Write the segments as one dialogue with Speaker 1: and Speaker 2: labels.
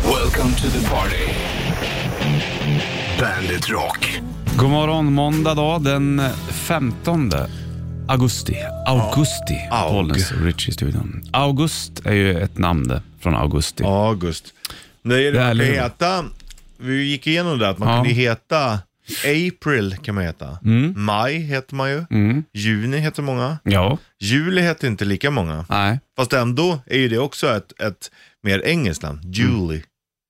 Speaker 1: Welcome to the party. Bandit Rock.
Speaker 2: God morgon, måndag då, den 15 augusti. Augusti,
Speaker 3: Aug.
Speaker 2: Bollnäs Richie-studion. August är ju ett namn det, från augusti.
Speaker 3: August. Det är det
Speaker 2: Det är
Speaker 3: man kan
Speaker 2: lugnt.
Speaker 3: heta, vi gick igenom det, att man
Speaker 2: Ja. Mm.
Speaker 3: kunde heta April kan man heta. Maj heter man ju. Juni heter många.
Speaker 2: Ja,
Speaker 3: Juli heter inte lika många.
Speaker 2: nej.
Speaker 3: Fast ändå är ju det också ett, ett mer engelskt namn.
Speaker 2: Mm.
Speaker 3: Julie.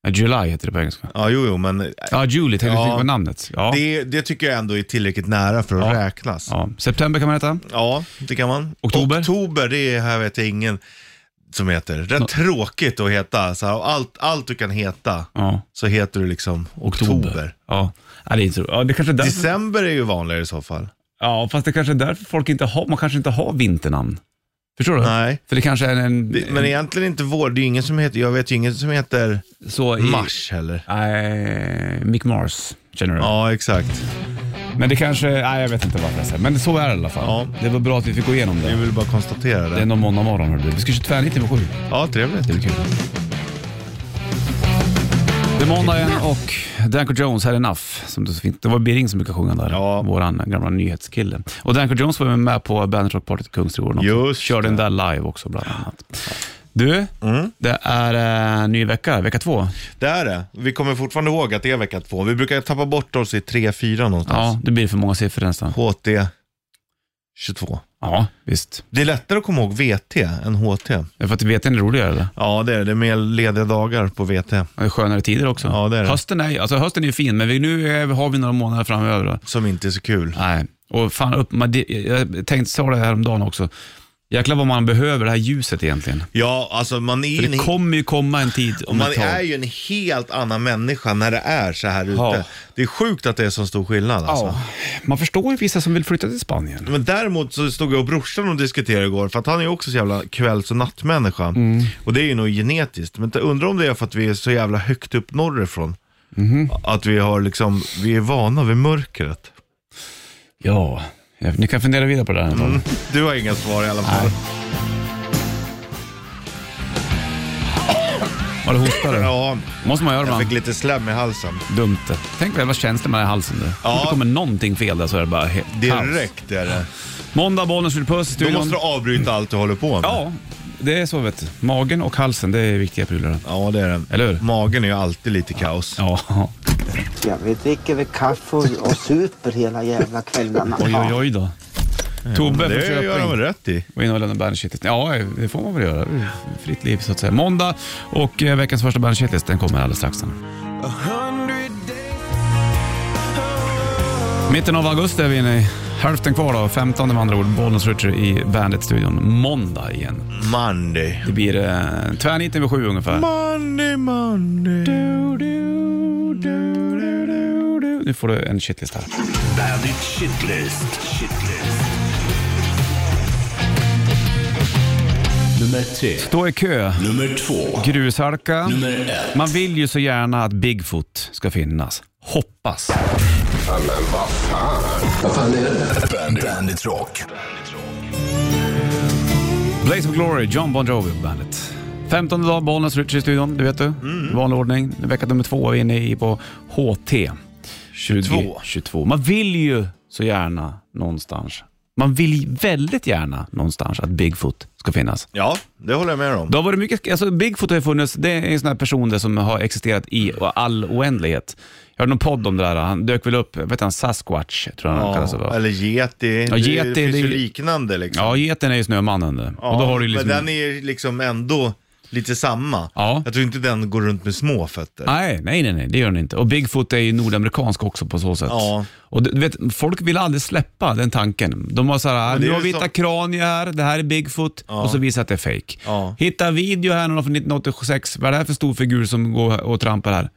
Speaker 2: July heter det på engelska.
Speaker 3: Ja, jo, jo, men
Speaker 2: Ja, Julie, tänkte
Speaker 3: Ja.
Speaker 2: jag på namnet. Ja.
Speaker 3: det, det tycker jag ändå är tillräckligt nära för att
Speaker 2: Ja.
Speaker 3: räknas. Ja.
Speaker 2: Ja. September kan man heta.
Speaker 3: det kan man.
Speaker 2: Oktober?
Speaker 3: Oktober, det är, här vet jag ingen som heter. Rätt tråkigt att heta. Så här, allt, allt du kan heta.
Speaker 2: Ja.
Speaker 3: så heter du liksom oktober.
Speaker 2: Ja. Ja, det är inte så. Ja, det kanske är därför,
Speaker 3: December är ju vanligare i så fall.
Speaker 2: ja, fast det kanske är därför folk inte har, man kanske inte har vinternamn. Förstår du?
Speaker 3: Nej.
Speaker 2: För det kanske är en...
Speaker 3: Det, men egentligen inte vår, det är ju ingen som heter, jag vet ju ingen som heter
Speaker 2: så i,
Speaker 3: mars heller.
Speaker 2: Nej, Mick Mars, känner du?
Speaker 3: Ja, exakt.
Speaker 2: Men det kanske, nej jag vet inte varför jag säger Men så är det i alla fall.
Speaker 3: Ja.
Speaker 2: Det var bra att vi fick gå igenom
Speaker 3: Jag
Speaker 2: det.
Speaker 3: vill bara konstatera
Speaker 2: Det är
Speaker 3: det.
Speaker 2: någon måndag morgon hörde du. Vi ska köra tvärnit till sju.
Speaker 3: Ja, trevligt.
Speaker 2: Det blir kul. Det är måndag igen och Danko Jones, här är Enough. Som det, så fint. det var Birring som brukade sjunga där,
Speaker 3: Ja.
Speaker 2: våran gamla nyhetskille. Och Danko Jones var ju med på Bandit Rock Party i Kungsträdgården också.
Speaker 3: Just
Speaker 2: Körde den där live också bland annat. Du, det är eh, ny vecka, vecka två.
Speaker 3: Det är det. Vi kommer fortfarande ihåg att det är vecka två. Vi brukar tappa bort oss i 3-4 någonstans.
Speaker 2: Ja, det blir för många siffror nästan.
Speaker 3: HT 22.
Speaker 2: Ja, visst.
Speaker 3: Det är lättare att komma ihåg VT än HT.
Speaker 2: Det är för att VT är roligare eller?
Speaker 3: Ja, det är det. Det är mer lediga dagar på VT.
Speaker 2: Det är skönare tider också.
Speaker 3: Ja, det är det.
Speaker 2: Hösten är, alltså hösten är ju fin, men vi, nu är, har vi några månader framöver. Då.
Speaker 3: Som inte är så kul.
Speaker 2: Nej, och fan, upp, man, det- jag tänkte, sa det här om dagen också. Jäklar vad man behöver det här ljuset egentligen.
Speaker 3: Ja, alltså man är
Speaker 2: För
Speaker 3: ju
Speaker 2: det
Speaker 3: en
Speaker 2: kommer ju komma en tid om
Speaker 3: Man
Speaker 2: ett tag.
Speaker 3: är ju en helt annan människa när det är så här ute.
Speaker 2: Ja.
Speaker 3: Det är sjukt att det är så stor skillnad alltså.
Speaker 2: ja, man förstår ju vissa som vill flytta till Spanien.
Speaker 3: Men däremot så stod jag och brorsan och diskuterade igår, för att han är ju också så jävla kvälls och nattmänniska.
Speaker 2: Mm.
Speaker 3: Och det är ju nog genetiskt. Men jag undrar om det är för att vi är så jävla högt upp norrifrån.
Speaker 2: Mhm.
Speaker 3: Att vi har liksom, vi är vana vid mörkret.
Speaker 2: Ja, ja, ni kan fundera vidare på det här. Mm.
Speaker 3: Du har inga svar i alla fall.
Speaker 2: Var det hostar du?
Speaker 3: Ja,
Speaker 2: måste man göra
Speaker 3: jag
Speaker 2: ibland.
Speaker 3: fick lite slem i halsen.
Speaker 2: Dumt det. Tänk vad jävla känslig man är i halsen du.
Speaker 3: Ja.
Speaker 2: Om det kommer någonting fel där så är det bara helt kaos.
Speaker 3: Direkt är det.
Speaker 2: Måndag, Bollnäs, Puss i
Speaker 3: Då
Speaker 2: studion.
Speaker 3: måste du avbryta allt du håller på med.
Speaker 2: Ja, det är så vet du. Magen och halsen, det är viktiga prylar.
Speaker 3: ja det är det.
Speaker 2: Eller hur?
Speaker 3: Magen är ju alltid lite kaos.
Speaker 2: Ja.
Speaker 4: Ja, vi dricker väl kaffe och, och super hela jävla kvällarna.
Speaker 2: Oj, oj, oj då. Tobbe från
Speaker 3: Det gör de
Speaker 2: Köping.
Speaker 3: rätt i.
Speaker 2: Var inne och lämnade bandshitlist. Ja, det får man väl göra. Det är Fritt liv så att säga. Måndag och eh, veckans första bandshitlist, den kommer alldeles strax. Sen. Mitten av augusti är vi inne i. Hälften kvar då, 15 med andra ord. Bollnäs Ritchie i Bandit-studion. Måndag igen.
Speaker 3: Monday.
Speaker 2: Det blir eh, tvärniten vid sju ungefär.
Speaker 3: Monday, Monday.
Speaker 2: Du, du, du, du, du, du. Nu får du en shitlist här.
Speaker 1: Bandit Shitlist. Shitlist. Nummer tre.
Speaker 2: Stå i kö,
Speaker 1: Nummer två.
Speaker 2: grushalka.
Speaker 1: Nummer ett.
Speaker 2: Man vill ju så gärna att Bigfoot ska finnas. Hoppas.
Speaker 1: Bandit. Bandit Rock.
Speaker 2: Blaze of Glory, John Bon Jovi på bandet. 15 dag, Bollnäs Ritchie i studion, det vet du. Mm. Vanlig ordning. Vecka nummer två är vi inne i på HT 2022. Man vill ju så gärna någonstans. Man vill väldigt gärna någonstans att Bigfoot ska finnas.
Speaker 3: Ja, det håller jag med om.
Speaker 2: Det har varit mycket, alltså Bigfoot har ju funnits, det är en sån här person där som har existerat i all oändlighet. Jag hörde någon podd om det där, han dök väl upp, vet han, Sasquatch tror jag han kallas
Speaker 3: Ja,
Speaker 2: för.
Speaker 3: eller geti.
Speaker 2: Ja,
Speaker 3: det
Speaker 2: geti,
Speaker 3: finns ju
Speaker 2: det-
Speaker 3: liknande liksom.
Speaker 2: Ja, geten är ju snömannen det. och då har du ju liksom...
Speaker 3: Men den är ju liksom ändå lite samma.
Speaker 2: Ja.
Speaker 3: Jag tror inte den går runt med små fötter.
Speaker 2: Nej, nej, nej, nej, det gör den inte. Och Bigfoot är ju nordamerikansk också på så sätt.
Speaker 3: Ja.
Speaker 2: Och du du vet, folk vill aldrig släppa den tanken. De har så här,
Speaker 3: Men det är
Speaker 2: nu har
Speaker 3: ju
Speaker 2: vi hittat
Speaker 3: som-
Speaker 2: kranier här, det här är Bigfoot, och så visar att det är fake.
Speaker 3: Ja.
Speaker 2: Hitta video här, någon från 1986, vad är det här för stor figur som går och trampar här?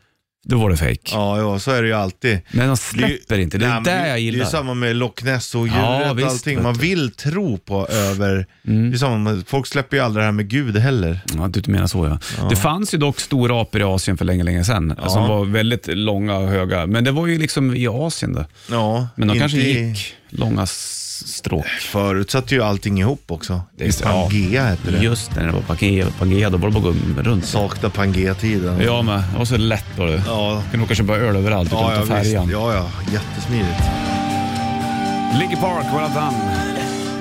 Speaker 2: Då var det fake.
Speaker 3: Ja, ja, så är det ju alltid.
Speaker 2: Men de
Speaker 3: Det är ju-
Speaker 2: släpper inte, det är
Speaker 3: Nej, men
Speaker 2: det jag
Speaker 3: Det är
Speaker 2: gillar.
Speaker 3: ju samma med Loch Ness och djuret
Speaker 2: Ja,
Speaker 3: och
Speaker 2: visst,
Speaker 3: allting.
Speaker 2: vet
Speaker 3: Man
Speaker 2: du. Mm.
Speaker 3: vill tro på över... Det är samma med, folk släpper ju aldrig det här med Gud heller.
Speaker 2: Ja, du menar så ja. Det fanns ju dock stora apor i Asien för länge, länge sedan som var väldigt långa och höga. Men det var ju liksom i Asien det.
Speaker 3: Ja,
Speaker 2: Men de
Speaker 3: inte
Speaker 2: kanske
Speaker 3: i-
Speaker 2: gick långa s- stråk.
Speaker 5: Förut satte ju allting ihop också. I
Speaker 2: Just det, ja.
Speaker 5: Pangea hette det.
Speaker 2: Just när det var Pangea, Pangea då var det bara att gå runt.
Speaker 5: Saknar Pangea-tiden.
Speaker 2: Ja men, det var så lätt då du.
Speaker 5: Ja.
Speaker 2: Kunde åka och köpa öl överallt utan att ta
Speaker 5: visst.
Speaker 2: färjan.
Speaker 5: ja, ja. Jättesmidigt.
Speaker 2: Linkin Park, Well Done.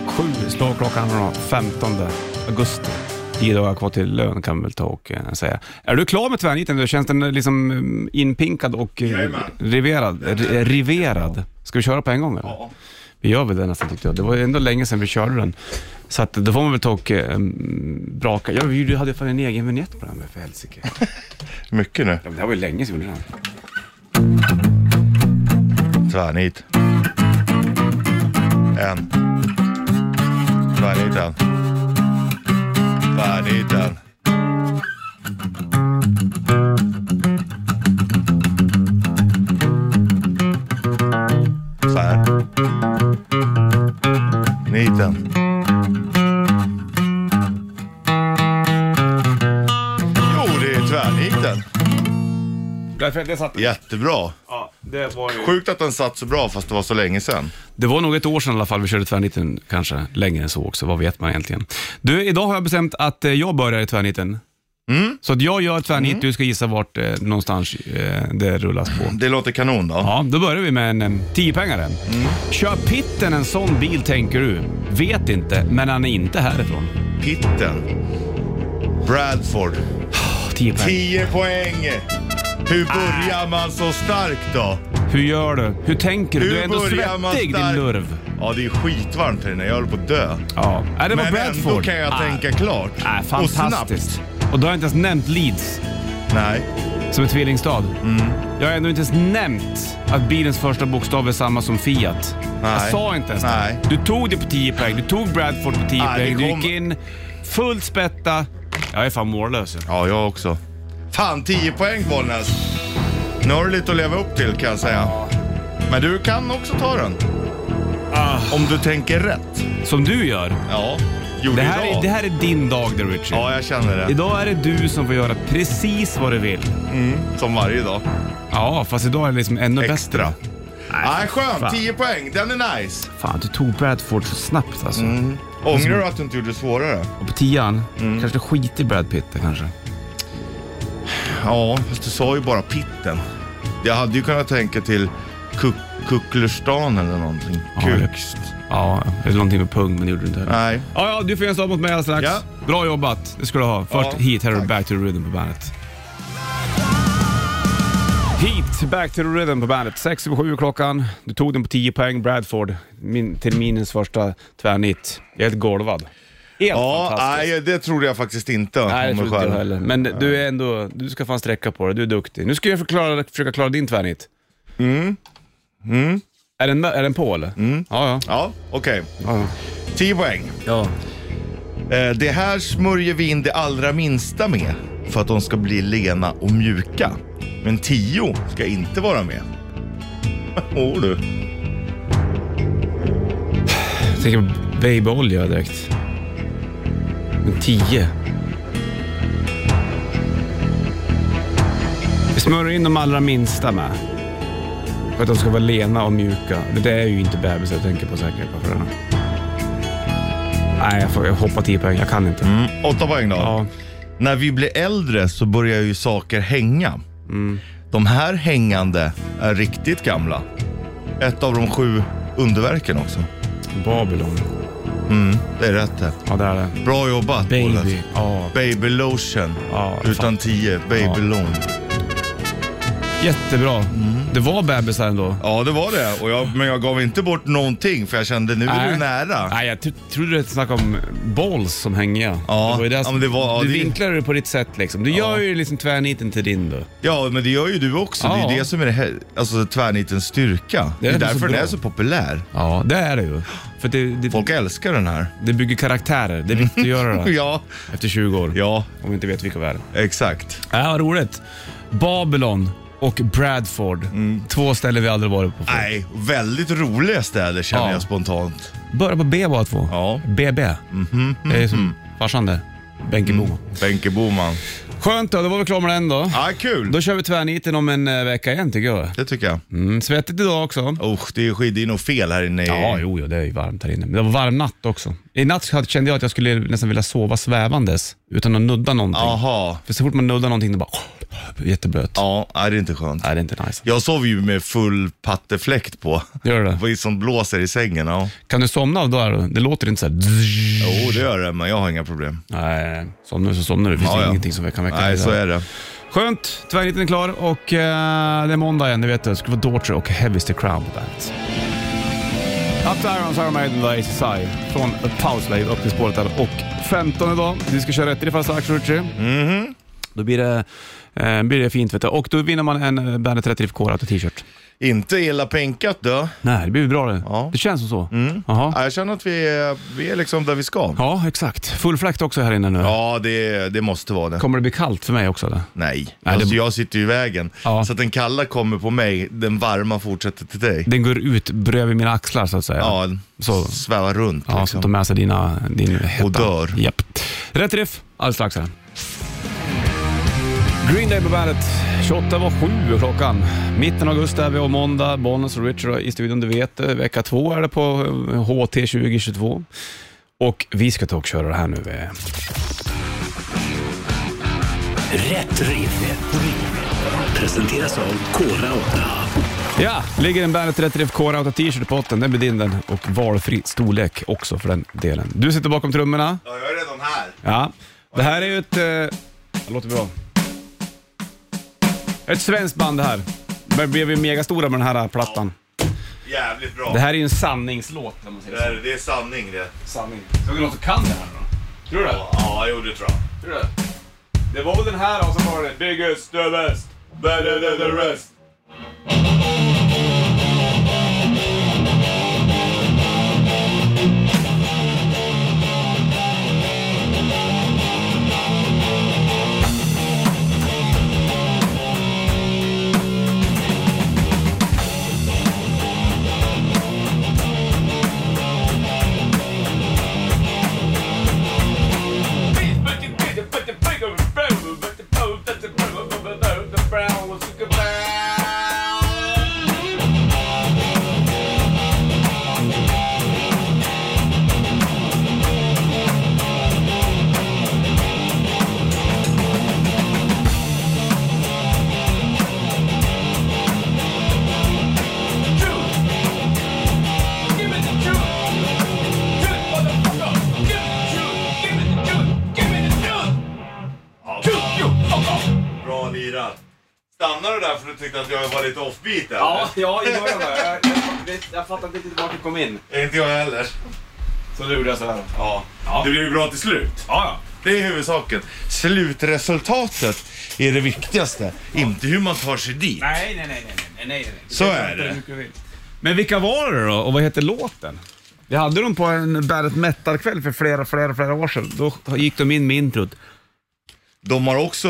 Speaker 2: Sju slår klockan den 15 augusti. Tio dagar kvar till lön kan vi väl ta och eh, säga. Är du klar med tvärniten? nu? Känns den eh, liksom mm, inpinkad och eh, riverad? Ri- eh, riverad? Ska vi köra på en gång eller? Ja. Vi gör väl det nästan tyckte jag. Det var ändå länge sedan vi körde den. Så att då får man väl ta och eh, mm, braka. Ja, vi gjorde- hade ju fan en egen vignett på den här för helsike.
Speaker 3: Mycket nu.
Speaker 2: Ja, men Det här var ju länge sedan vi gjorde den.
Speaker 3: Tvärnit. En. Tvärniten. Tvärniten. Tvär. Niten. Jo, det är tvärniten.
Speaker 2: Därför, det, satt,
Speaker 3: Jättebra.
Speaker 2: ja, det, var ju...
Speaker 3: Sjukt att den satt så bra fast det var så länge sedan.
Speaker 2: Det var nog ett år sedan i alla fall vi körde tvärniten, kanske längre än så också, vad vet man egentligen. Du, idag har jag bestämt att eh, jag börjar i tvärniten.
Speaker 3: Mm.
Speaker 2: Så att jag gör tvärnit, du ska gissa vart eh, någonstans eh, det rullas på.
Speaker 3: Det låter kanon då.
Speaker 2: Ja, då börjar vi med en em, 10-pengare.
Speaker 3: Mm.
Speaker 2: Kör pitten en sån bil tänker du? Vet inte, men han är inte härifrån.
Speaker 3: Pitten. Bradford.
Speaker 2: 10 peng.
Speaker 3: 10 poäng. Hur
Speaker 2: Äh.
Speaker 3: börjar man så starkt då?
Speaker 2: Hur gör du? Hur tänker du?
Speaker 3: Hur
Speaker 2: Du är ändå
Speaker 3: börjar man
Speaker 2: svettig din
Speaker 3: starkt?
Speaker 2: lurv.
Speaker 3: Ja, det är skitvarmt här inne. Jag håller på att dö.
Speaker 2: Ja, äh, det var
Speaker 3: Men
Speaker 2: Bradford.
Speaker 3: ändå kan jag
Speaker 2: Ah,
Speaker 3: tänka klart.
Speaker 2: ah,
Speaker 3: och snabbt.
Speaker 2: fantastiskt. Och, och då har jag inte ens nämnt Leeds.
Speaker 3: Nej.
Speaker 2: Som är tvillingstad.
Speaker 3: Mm.
Speaker 2: Jag har ändå inte ens nämnt att bilens första bokstav är samma som Fiat. Jag
Speaker 3: Nej.
Speaker 2: sa inte ens det.
Speaker 3: Nej.
Speaker 2: Du tog det på 10 poäng, du tog Bradford på 10
Speaker 3: Nej, det
Speaker 2: poäng, du
Speaker 3: kom-
Speaker 2: gick in fullt spätta. Jag är fan mållös. jag.
Speaker 3: Ja, jag också. Fan, 10 poäng Bollnäs. Nu har du lite att leva upp till kan jag säga. Men du kan också ta den.
Speaker 2: Ah.
Speaker 3: Om du tänker rätt.
Speaker 2: Som du gör.
Speaker 3: Ja, gjorde
Speaker 2: Det här,
Speaker 3: idag.
Speaker 2: är, det här är din dag där Richard.
Speaker 3: Ja, jag känner det.
Speaker 2: Idag är det du som får göra precis vad du vill.
Speaker 3: Som varje dag.
Speaker 2: Ja, fast idag är det liksom ännu
Speaker 3: Extra.
Speaker 2: bättre.
Speaker 3: Nej, skönt.
Speaker 2: fan.
Speaker 3: 10 poäng. Den är nice.
Speaker 2: Fan, du tog Bradford så snabbt alltså.
Speaker 3: Mm. Ångrar du att du inte gjorde det svårare?
Speaker 2: Och på tian,
Speaker 3: Mm.
Speaker 2: kanske skit i Brad Pitt kanske.
Speaker 3: Ja, fast du sa ju bara pitten. Jag hade ju kunnat tänka till kuk Kucklerstan eller någonting.
Speaker 2: det-
Speaker 3: Kukst.
Speaker 2: Ja, eller någonting med pung, men det gjorde du inte heller.
Speaker 3: Nej.
Speaker 2: Ja, ja, du får en stad mot mig alldeles strax.
Speaker 3: Ja.
Speaker 2: Bra jobbat, det ska du ha. Först
Speaker 3: Ja,
Speaker 2: Heat, här har du
Speaker 3: tack.
Speaker 2: Back to the Rhythm på bandet. Heat, Back to the Rhythm på bandet. 6 över 7 klockan. Du tog den på 10 poäng, Bradford. Min, terminens första tvärnit. Jag är helt golvad. Helt
Speaker 3: Ja,
Speaker 2: fantastiskt.
Speaker 3: nej, det trodde jag faktiskt inte.
Speaker 2: Nej, det
Speaker 3: om mig
Speaker 2: tror inte jag
Speaker 3: själv.
Speaker 2: heller. Men du är ändå, du ska fan sträcka på dig. Du är duktig. Nu ska jag förklara, försöka klara din tvärnit. Mm. Är, den, är den på eller? Mm. Ja, ja.
Speaker 3: Ja, okej.
Speaker 2: ja.
Speaker 3: 10 poäng.
Speaker 2: ja.
Speaker 3: Eh, det här smörjer vi in det allra minsta med för att de ska bli lena och mjuka. Men 10 ska inte vara med. Åh du.
Speaker 2: Jag tänker babyolja direkt. Men 10. Vi smörjer in de allra minsta med. För att de ska vara lena och mjuka. Det där är ju inte bebisar jag tänker på säkert. på förarna. Nej, jag får jag hoppar 10 poäng. Jag kan inte.
Speaker 3: Mm. 8 poäng då.
Speaker 2: Ja.
Speaker 3: När vi blir äldre så börjar ju saker hänga. De här hängande är riktigt gamla. Ett av de sju underverken också.
Speaker 2: Babylon.
Speaker 3: Mm, det är rätt det.
Speaker 2: Ja, där är det.
Speaker 3: Bra jobbat
Speaker 2: Baby.
Speaker 3: Olle.
Speaker 2: Ja.
Speaker 3: Baby lotion.
Speaker 2: Ja,
Speaker 3: Utan tio. Baby
Speaker 2: Ja.
Speaker 3: loan.
Speaker 2: Jättebra. Det var bebisar ändå.
Speaker 3: Ja, det var det. Och jag, men jag gav inte bort någonting för jag kände nu är du
Speaker 2: Nej.
Speaker 3: nära.
Speaker 2: Nej, jag tro- trodde du snackade om balls som hängiga.
Speaker 3: Ja,
Speaker 2: det var ju det
Speaker 3: ja,
Speaker 2: som,
Speaker 3: men det var- ja,
Speaker 2: du
Speaker 3: det-
Speaker 2: vinklade det på ditt sätt liksom. Du gör ju liksom tvärniten till din då.
Speaker 3: Ja, men det gör ju du också. Det är
Speaker 2: Ja.
Speaker 3: ju det som är det här, alltså, tvärnitens styrka.
Speaker 2: Det
Speaker 3: Det
Speaker 2: är
Speaker 3: är,
Speaker 2: så
Speaker 3: därför
Speaker 2: bra.
Speaker 3: den är så populär.
Speaker 2: Ja, det är det ju. För det, det,
Speaker 3: Folk älskar den här.
Speaker 2: det bygger karaktärer. Det är viktigt att göra det
Speaker 3: Ja,
Speaker 2: efter 20 år.
Speaker 3: ja
Speaker 2: Om vi inte vet vilka vi är.
Speaker 3: exakt.
Speaker 2: Ja, vad roligt. Babylon och Bradford.
Speaker 3: Mm.
Speaker 2: Två ställen vi aldrig varit på förut.
Speaker 3: Nej, väldigt roliga städer känner
Speaker 2: Ja.
Speaker 3: jag spontant.
Speaker 2: Börja på B bara två.
Speaker 3: Ja. Mhm,
Speaker 2: BB. Det är som farsan där. Benke Boman.
Speaker 3: Benke Boman.
Speaker 2: Skönt då, då var vi klara med den då.
Speaker 3: Mm. Ja, kul.
Speaker 2: Då kör vi tvärniten om en eh, vecka igen tycker jag.
Speaker 3: Det tycker jag.
Speaker 2: Mm, svettigt idag också.
Speaker 3: Usch, det är, skid- det är nog fel här inne i...
Speaker 2: Ja, jo, jo, det är ju varmt här inne. Men det var varm natt också. I natt hade- kände jag att jag skulle nästan vilja sova svävandes utan att nudda någonting.
Speaker 3: Jaha.
Speaker 2: För så fort man nuddar någonting, då bara jätteblöt.
Speaker 3: Ja, nej, det är inte skönt.
Speaker 2: Nej, det är inte nice.
Speaker 3: Jag sov ju med full pattefläkt på.
Speaker 2: Gör du det?
Speaker 3: Vad är det som blåser i sängen? Ja.
Speaker 2: Kan du somna av det här? då? Det låter inte så här...
Speaker 3: Jo, det gör det, men jag har inga problem.
Speaker 2: Nej, somnar du så somnar du. Det finns
Speaker 3: Ja, ja.
Speaker 2: ingenting som kan väcka
Speaker 3: Nej,
Speaker 2: dig.
Speaker 3: så är det.
Speaker 2: Skönt, tvärniten är klar och eh, det är måndag igen, det vet du. Det ska vara Daughtry och Heavy's the Crown på bandet. Up to Irons, Iron Maiden, The Ace Side. Från A Power Slave upp till spåret där. Och 15 idag, vi ska köra rätt i det fasta Axel Ritchie.
Speaker 3: Mhm.
Speaker 2: Då blir det, eh, blir det fint vet du. Och då vinner man en eh, Bandet 30 FK Rato t-shirt.
Speaker 3: Inte illa pinkat då.
Speaker 2: Nej, det blir ju bra det.
Speaker 3: Ja. Mm.
Speaker 2: Det känns som så. Jaha.
Speaker 3: Ja, Jag känner att vi är, vi är liksom där vi ska.
Speaker 2: Ja, exakt. Full fläkt också här inne nu.
Speaker 3: Ja, det, det måste vara det.
Speaker 2: Kommer det bli kallt för mig också eller?
Speaker 3: Nej,
Speaker 2: Nej,
Speaker 3: alltså,
Speaker 2: det-
Speaker 3: jag sitter ju i vägen.
Speaker 2: Ja.
Speaker 3: Så att den kalla kommer på mig, den varma fortsätter till dig.
Speaker 2: Den går ut bredvid mina axlar så att säga.
Speaker 3: Ja,
Speaker 2: Så.
Speaker 3: svävar runt
Speaker 2: Ja, så
Speaker 3: liksom.
Speaker 2: ta med sig dina, din hetta.
Speaker 3: Och dör.
Speaker 2: Japp. Rätt riff alldeles strax. Här. Green Day på bandet. 28 var 7 klockan. Mitten av augusti är vi och måndag. Bonus och Richard i studion, du vet det. Vecka två är det på eh, HT 2022. Och vi ska ta och köra det här nu. eh.
Speaker 1: Rätt riff. Rätt riff. Presenteras av Kora 8.
Speaker 2: Ja, ligger en Bandet 30 FK Rauta t-shirt på botten. Den blir din den. Och valfri storlek också för den delen. Du sitter bakom trummorna.
Speaker 3: Ja, jag är redan här.
Speaker 2: Ja, det här är ju ett... Eh, det låter bra. Ett svenskt band det här. Men blev ju megastora med den här plattan.
Speaker 3: Jävligt bra.
Speaker 2: Det här är ju en sanningslåt om man säger så.
Speaker 3: är sanning det.
Speaker 2: Sanning. Såg du någon som kan det här då? Tror du det?
Speaker 3: Ja, jo det tror jag.
Speaker 2: Tror du det? Det var väl den här och så var det Biggest, the best, better than the rest.
Speaker 3: Bra lirat. Stannade du där för du tyckte att jag var lite offbeat eller?
Speaker 2: Ja, ja, i början var jag. Jag, jag fattade inte riktigt vart det kom in.
Speaker 3: Inte jag heller.
Speaker 2: Så nu gjorde jag sådär.
Speaker 3: Ja. Det blev ju bra till slut.
Speaker 2: Ja,
Speaker 3: Det är huvudsaken. Slutresultatet är det viktigaste. Inte hur man tar sig dit.
Speaker 2: Nej, nej, nej, nej, nej, nej, nej.
Speaker 3: Så är det.
Speaker 2: Men vilka var det då och vad heter låten? Vi hade dem på en Bandet Metal-kväll för flera, flera, flera år sedan. Då gick de in med introt.
Speaker 3: De har också...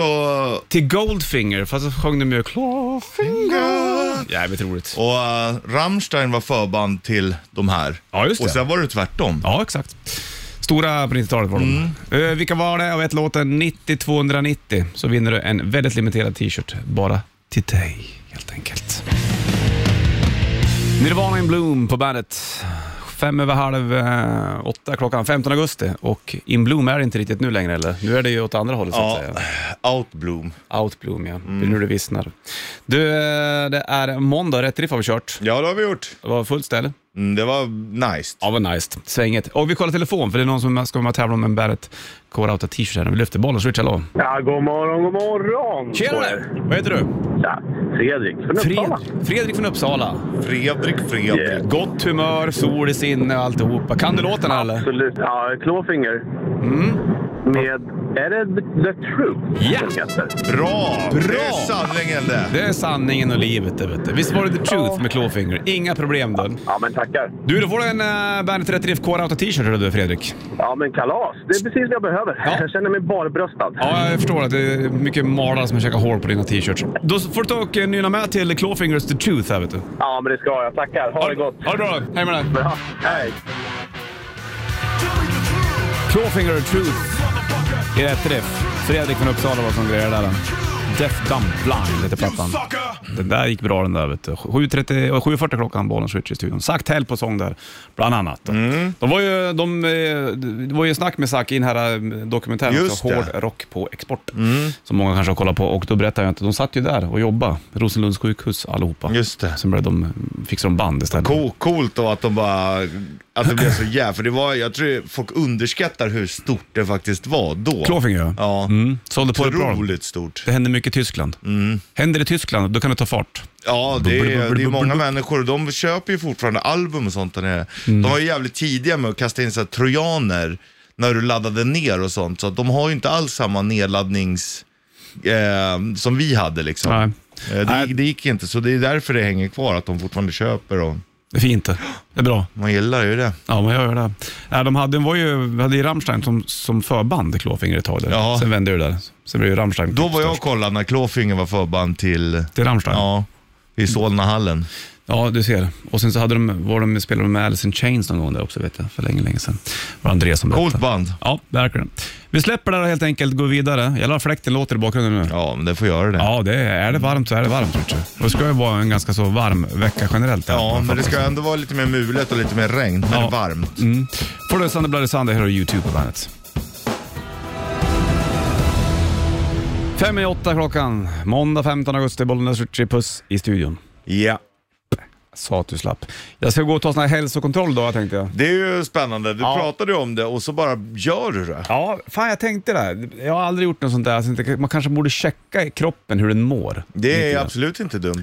Speaker 2: Till Goldfinger, fast så sjöng de ju Clawfinger. Jävligt roligt.
Speaker 3: Och eh, Rammstein var förband till de här.
Speaker 2: Ja, just det.
Speaker 3: Och sen var det tvärtom.
Speaker 2: Ja, exakt. Stora på 90-talet var de. Eh, vilka var det? Jag vet låten 90-290. Så vinner du en väldigt limiterad t-shirt bara till dig, helt enkelt. Nirvana in Bloom på bandet. Fem över halv eh, åtta klockan 15 augusti och In Bloom är det inte riktigt nu längre eller? Nu är det ju åt andra hållet så att
Speaker 3: Ja,
Speaker 2: säga.
Speaker 3: Outbloom.
Speaker 2: Out Bloom ja, det är nu det vissnar. Du, eh, det är måndag, rätt riff har vi kört.
Speaker 3: Ja, det har vi gjort.
Speaker 2: Det var fullt ställe.
Speaker 3: Mm, det var nice.
Speaker 2: Ja, vad nice. Svänget. Och vi kollar telefon, för det är någon som ska vara med och tävla om en Barrett K-Rauta t-shirt här. Vi lyfter bollen. Switch, hallå.
Speaker 6: Ja, god morgon, god morgon!
Speaker 2: Tjenare! Vad heter du?
Speaker 6: Ja, Fredrik från Uppsala.
Speaker 2: Fred- Fredrik från Uppsala.
Speaker 3: Fredrik, Fredrik.
Speaker 6: Yeah.
Speaker 2: Gott humör, sol i sinne och alltihopa. Kan du låten här, eller?
Speaker 6: Absolut. Ja, Clawfinger. Med... Är det The Truth?
Speaker 2: Mm. Ja.
Speaker 6: som heter?
Speaker 3: Bra! Det är sanningen det.
Speaker 2: Det är sanningen och livet det vet du. Visst var det The Truth med Clawfinger? Inga problem då.
Speaker 6: Ja, men tackar.
Speaker 2: Du, då får du en uh, Bandet 30 IFK Rauta t-shirt hörru du Fredrik.
Speaker 6: Ja, men kalas. Det är precis vad jag behöver.
Speaker 2: Ja.
Speaker 6: Jag känner mig barbröstad.
Speaker 2: Ja, jag förstår att det är mycket malar som käkar hår på dina t-shirts. Då får du ta och eh, nynna med till Clawfingers The Truth här vet du.
Speaker 6: Ja, men det ska jag. Tackar. Ha det gott.
Speaker 2: Ha det bra då. Hej med dig.
Speaker 6: Bra. Hej.
Speaker 2: Clawfinger Truth i rätt träff. Fredrik från Uppsala var som grejade där. Deaf Dumb Blind heter plattan. Den där gick bra den där vet du. 7.30 och 7.40 klockan, bollen switch i studion. Zack Tell på sång där, bland annat.
Speaker 3: Mm.
Speaker 2: De var ju, de, eh, det var ju snack med Zack i den här eh, dokumentären,
Speaker 3: Just
Speaker 2: också,
Speaker 3: det. Mm.
Speaker 2: Hård rock på export. Som många kanske har kollat på och då berättade jag inte, de satt ju där och jobbade, Rosenlunds sjukhus allihopa.
Speaker 3: Just det.
Speaker 2: Sen började de, fixade de band istället.
Speaker 3: Co- Coolt då att de bara, att det blev så jävla, för det var, jag tror folk underskattar hur stort det faktiskt var då.
Speaker 2: Clawfinger ja.
Speaker 3: Ja,
Speaker 2: Mm. Sålde på det bra.
Speaker 3: otroligt stort.
Speaker 2: Det händer mycket i Tyskland.
Speaker 3: Mm.
Speaker 2: Händer det i Tyskland, då kan det ta fart.
Speaker 3: Ja, det är, det är många människor och de köper ju fortfarande album och sånt där nere. De var ju jävligt tidiga med att kasta in så här trojaner när du laddade ner och sånt, så att de har ju inte alls samma nedladdnings... Eh, som vi hade liksom.
Speaker 2: Nej.
Speaker 3: Eh, det,
Speaker 2: Nej.
Speaker 3: gick- det gick inte, så det är därför det hänger kvar, att de fortfarande köper och
Speaker 2: Det är fint det. Det är bra.
Speaker 3: man gillar ju det.
Speaker 2: Ja, men jag gör det. Nej, de hade, de var ju, vi hade ju Rammstein som, som förband i Klåfingret ett tag. Där.
Speaker 3: Ja.
Speaker 2: Sen vände det där. Sen blev ju Rammstein
Speaker 3: Då var jag och
Speaker 2: störst.
Speaker 3: kollade när Clawfinger var förband till,
Speaker 2: Till Rammstein? Ja.
Speaker 3: ja, i Solnahallen.
Speaker 2: du ser. Och sen så hade de, var de, spelade de med Alice in Chains någon gång där också, vet jag. För länge, länge sedan. Det var Andreas som berättade.
Speaker 3: Coolt band.
Speaker 2: Ja, verkligen. Vi släpper det här helt enkelt, går vidare. Jävlar, fläkten låter i bakgrunden nu.
Speaker 3: Ja, men det får göra det.
Speaker 2: Ja, det är, är det varmt så är det varmt. Richard. Och det ska ju vara en ganska så varm vecka generellt. här.
Speaker 3: Ja, men det ska ändå vara lite mer mulet och lite mer regn, men
Speaker 2: Ja.
Speaker 3: varmt.
Speaker 2: Mm. Får du Sunday Bloody Sunday här har du YouTube på bandet. Fem i åtta klockan, måndag 15 augusti, Bollnäs Ritchie Puss i studion.
Speaker 3: Ja.
Speaker 2: Sa att du slapp. Jag ska gå och ta sån här hälsokontroll då, tänkte jag.
Speaker 3: Det är ju spännande. Du
Speaker 2: Ja.
Speaker 3: pratade ju om det och så bara gör du det.
Speaker 2: Ja, fan jag tänkte det. här. Jag har aldrig gjort något sånt där. Så jag tänkte, Man kanske borde checka i kroppen hur den mår.
Speaker 3: Det
Speaker 2: Lite
Speaker 3: är
Speaker 2: grann.
Speaker 3: absolut inte dumt.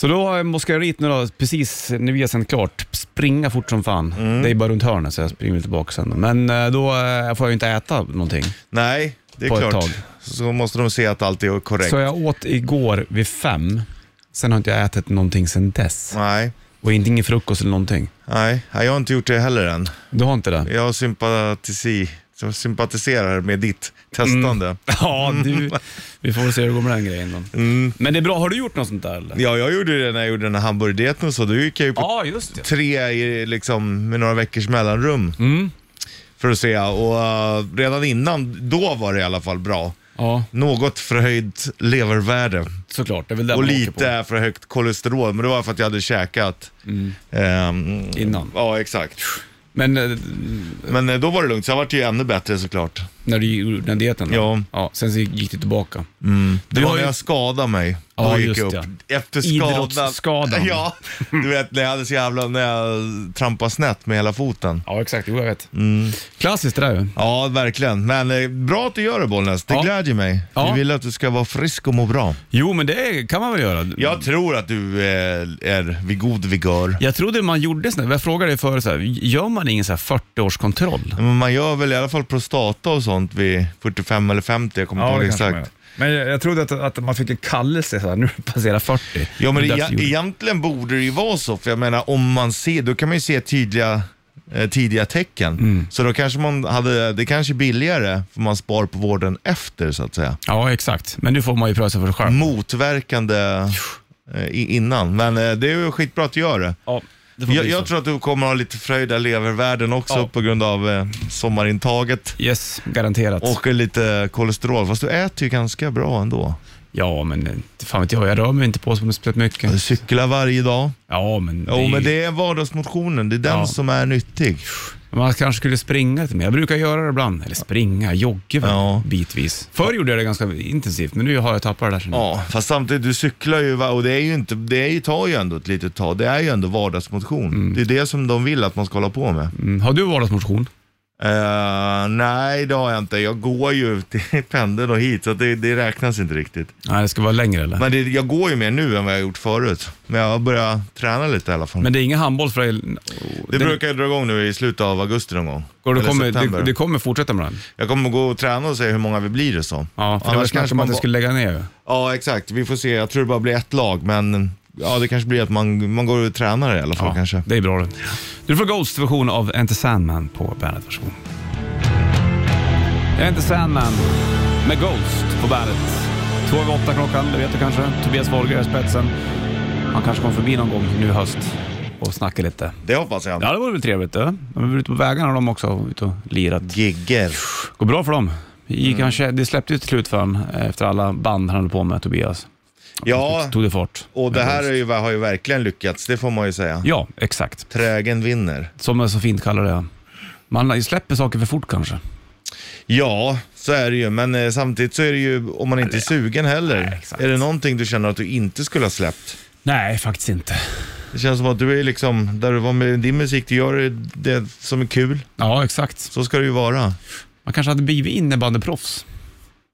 Speaker 2: Så då eh, måste jag dit nu då, precis när vi har sänt klart. Springa fort som fan. Det är bara runt hörnet så jag springer tillbaka sen. Men eh, då eh, får jag ju inte äta någonting.
Speaker 3: Nej, det är
Speaker 2: På ett
Speaker 3: klart.
Speaker 2: tag.
Speaker 3: Så måste de se att allt är korrekt.
Speaker 2: Så jag åt igår vid fem, sen har inte jag ätit någonting sen dess.
Speaker 3: Nej,
Speaker 2: Och inte ingen frukost eller någonting.
Speaker 3: nej, Nej, jag har inte gjort det heller än.
Speaker 2: Du har inte det?
Speaker 3: Jag sympatisi, jag sympatiserar med ditt testande.
Speaker 2: Mm. Ja, du, vi får väl se hur det går med den grejen då. Men det är bra, har du gjort något sånt där eller?
Speaker 3: Mm. Ja, jag gjorde det när jag gjorde den här hamburgerdieten och så. Då gick jag ju på
Speaker 2: Ja, just det.
Speaker 3: tre i, liksom, med några veckors mellanrum.
Speaker 2: Mm.
Speaker 3: För att se. Och eh, redan innan, då var det i alla fall bra.
Speaker 2: Ja,
Speaker 3: Något förhöjt levervärde
Speaker 2: såklart. Det är väl det Mm.
Speaker 3: och
Speaker 2: man åker på.
Speaker 3: lite för högt kolesterol, men det var för att jag hade käkat. ehm,
Speaker 2: Innan.
Speaker 3: Ja, exakt.
Speaker 2: Men eh,
Speaker 3: Men eh, då var det lugnt, så jag vart ju ännu bättre såklart.
Speaker 2: när du gjorde den dieten? då?
Speaker 3: Ja. Mm.
Speaker 2: ja. Sen så gick det tillbaka.
Speaker 3: Det
Speaker 2: Du
Speaker 3: var
Speaker 2: har
Speaker 3: när
Speaker 2: ju-
Speaker 3: jag skadade mig. Då
Speaker 2: Ja,
Speaker 3: gick
Speaker 2: just
Speaker 3: jag upp. Efter skadan.
Speaker 2: Idrottsskadan.
Speaker 3: Ja, du vet när jag hade så jävla, när jag trampade snett med hela foten.
Speaker 2: Ja, exakt. Jo, jag vet.
Speaker 3: Mm.
Speaker 2: Klassiskt det där ju.
Speaker 3: Ja, verkligen. Men eh, bra att du gör det Bollnäs, det
Speaker 2: Ja.
Speaker 3: glädjer mig.
Speaker 2: Ja.
Speaker 3: Vi vill att du ska vara frisk och må bra.
Speaker 2: Jo, men det kan man väl göra.
Speaker 3: Jag tror att du eh, är vid god vigör.
Speaker 2: Jag trodde man gjorde sådär, jag frågade dig förut, så här, gör man ingen så här 40-årskontroll?
Speaker 3: Men man gör väl i alla fall prostata och sånt vid 45 eller 50, jag kommer inte ihåg exakt.
Speaker 2: Men jag, jag trodde att, att man fick en kallelse så här, nu passerar 40.
Speaker 3: Ja men
Speaker 2: Det är
Speaker 3: e
Speaker 2: därför jag gjorde-
Speaker 3: egentligen borde det ju vara så, för jag menar om man ser, då kan man ju se tydliga, eh, tidiga tecken.
Speaker 2: Mm.
Speaker 3: Så då kanske man hade, det kanske är billigare, för man spar på vården efter så att säga.
Speaker 2: Ja, exakt. Men nu får man ju pröva sig för sig
Speaker 3: Mm.
Speaker 2: själv.
Speaker 3: Motverkande eh, i- innan, men eh, det är ju skitbra att du gör det.
Speaker 2: Ja, det får
Speaker 3: Jag,
Speaker 2: bli så.
Speaker 3: jag tror att du kommer ha lite fröjda levervärden också
Speaker 2: Ja.
Speaker 3: på grund av eh, sommarintaget.
Speaker 2: Yes, garanterat.
Speaker 3: Och lite kolesterol, fast du äter ju ganska bra ändå.
Speaker 2: Ja, men eh, fan vet jag, jag rör mig inte på som speciellt
Speaker 3: Du
Speaker 2: mycket.
Speaker 3: cyklar varje dag.
Speaker 2: Ja, men, det
Speaker 3: Jo,
Speaker 2: är ju-
Speaker 3: men det är vardagsmotionen. Det är den
Speaker 2: Ja.
Speaker 3: som är nyttig.
Speaker 2: man kanske skulle springa lite mer. Jag brukar göra det ibland. Eller springa, jogga väl
Speaker 3: Ja.
Speaker 2: bitvis. Förr gjorde jag det ganska intensivt, men nu har jag tappat det där.
Speaker 3: Ja, fast samtidigt, du cyklar ju va, och det, är ju inte, det är ju, tar ju ändå ett litet tag. Det är ju ändå vardagsmotion. Det är det som de vill att man ska hålla på med.
Speaker 2: Mm. Har du vardagsmotion?
Speaker 3: Eh, nej, det har jag inte. Jag går ju till pendeln och hit, så att det, det räknas inte riktigt.
Speaker 2: Nej, det ska vara längre eller?
Speaker 3: Men det, jag går ju mer nu än vad jag gjort förut. Men jag har börjat träna lite i alla fall.
Speaker 2: Men det är ingen handboll för dig? Det,
Speaker 3: det brukar jag dra igång nu i slutet av augusti någon gång.
Speaker 2: och du
Speaker 3: Eller
Speaker 2: kommer,
Speaker 3: september.
Speaker 2: du, du kommer fortsätta med den?
Speaker 3: Jag kommer gå och träna och se hur många vi blir det som.
Speaker 2: Ja, för det var snack om att jag
Speaker 3: bara-
Speaker 2: skulle lägga ner ju.
Speaker 3: Ja, exakt. Vi får se. Jag tror det bara blir ett lag, men ja, det kanske blir att man, man går och tränar i alla fall
Speaker 2: Ja,
Speaker 3: kanske.
Speaker 2: Det är bra det. Du får Ghosts version av Enter Sandman på bandet. Varsågod. Enter Sandman med Ghost på bandet. Två över åtta klockan, det vet du kanske. Tobias Wolger är spetsen. Han kanske kommer förbi någon gång nu i höst och snackar lite.
Speaker 3: Det hoppas jag.
Speaker 2: Ja, det vore väl trevligt. Du. De är väl ute på vägarna de också, ute och lirat.
Speaker 3: Gigger.
Speaker 2: Går bra för dem. Gick han, det släppte ju till slut för honom eh, efter alla band han höll på med, Tobias.
Speaker 3: Ja,
Speaker 2: Tog det fart.
Speaker 3: och det här är ju, har ju verkligen lyckats, det får man ju säga.
Speaker 2: Ja, exakt.
Speaker 3: Trägen vinner.
Speaker 2: Som jag så fint kallar det. Man släpper saker för fort kanske.
Speaker 3: Ja, så är det ju, men eh, samtidigt så är det ju om man inte är sugen heller.
Speaker 2: Nej, exakt.
Speaker 3: är det någonting du känner att du inte skulle ha släppt?
Speaker 2: Nej, faktiskt inte.
Speaker 3: Det känns som att du är liksom, där du var med din musik, du gör det som är kul.
Speaker 2: Ja, exakt.
Speaker 3: Så ska det ju vara.
Speaker 2: Man kanske hade blivit innebandyproffs.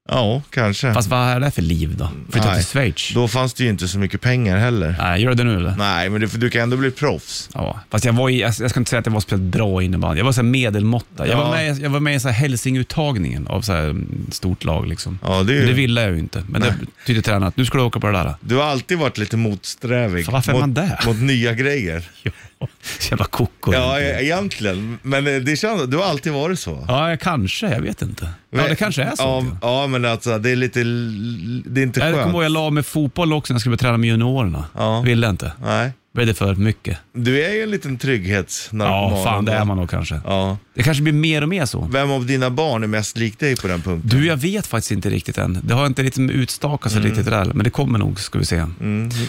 Speaker 3: Ja, kanske.
Speaker 2: Fast vad är det för liv då? Flytta
Speaker 3: Nej.
Speaker 2: till Schweiz?
Speaker 3: Då fanns det ju inte så mycket pengar heller.
Speaker 2: Nej, gör det nu eller?
Speaker 3: Nej, men du, du kan ändå bli proffs.
Speaker 2: Ja, fast jag, var i, jag, jag ska inte säga att jag var speciellt bra i innebandy. Jag var så här medelmåtta. Jag,
Speaker 3: Ja.
Speaker 2: var med, jag var med i så här Helsinguttagningen av så här mm, stort lag. Liksom.
Speaker 3: Ja, det är ju-
Speaker 2: Men det ville jag ju inte. Men det tydde tränaren att nu ska du åka på det där.
Speaker 3: Du har alltid varit lite motsträvig.
Speaker 2: Fan, varför är
Speaker 3: mot,
Speaker 2: man det?
Speaker 3: Mot nya grejer.
Speaker 2: Ja, så jävla koko.
Speaker 3: Ja, e- egentligen. Men eh, det känns, du har alltid varit så.
Speaker 2: ja, jag- kanske. Jag vet inte. Ja, det kanske är så.
Speaker 3: Ja,
Speaker 2: vet jag.
Speaker 3: ja men alltså det är lite, l- det är inte
Speaker 2: Jag kommer
Speaker 3: skönt.
Speaker 2: ihåg jag la med fotboll också när jag skulle börja träna med juniorerna.
Speaker 3: Ja.
Speaker 2: Ville inte.
Speaker 3: Nej.
Speaker 2: Blev det för mycket?
Speaker 3: Du är ju en liten trygghetsnarkoman.
Speaker 2: Ja, fan det är man nog kanske.
Speaker 3: Ja.
Speaker 2: Det kanske blir mer och mer så.
Speaker 3: Vem av dina barn är mest lik dig på den punkten?
Speaker 2: Du, jag vet faktiskt inte riktigt än. Det har inte liksom utstakat
Speaker 3: Mm.
Speaker 2: sig riktigt det där, men det kommer nog ska vi se.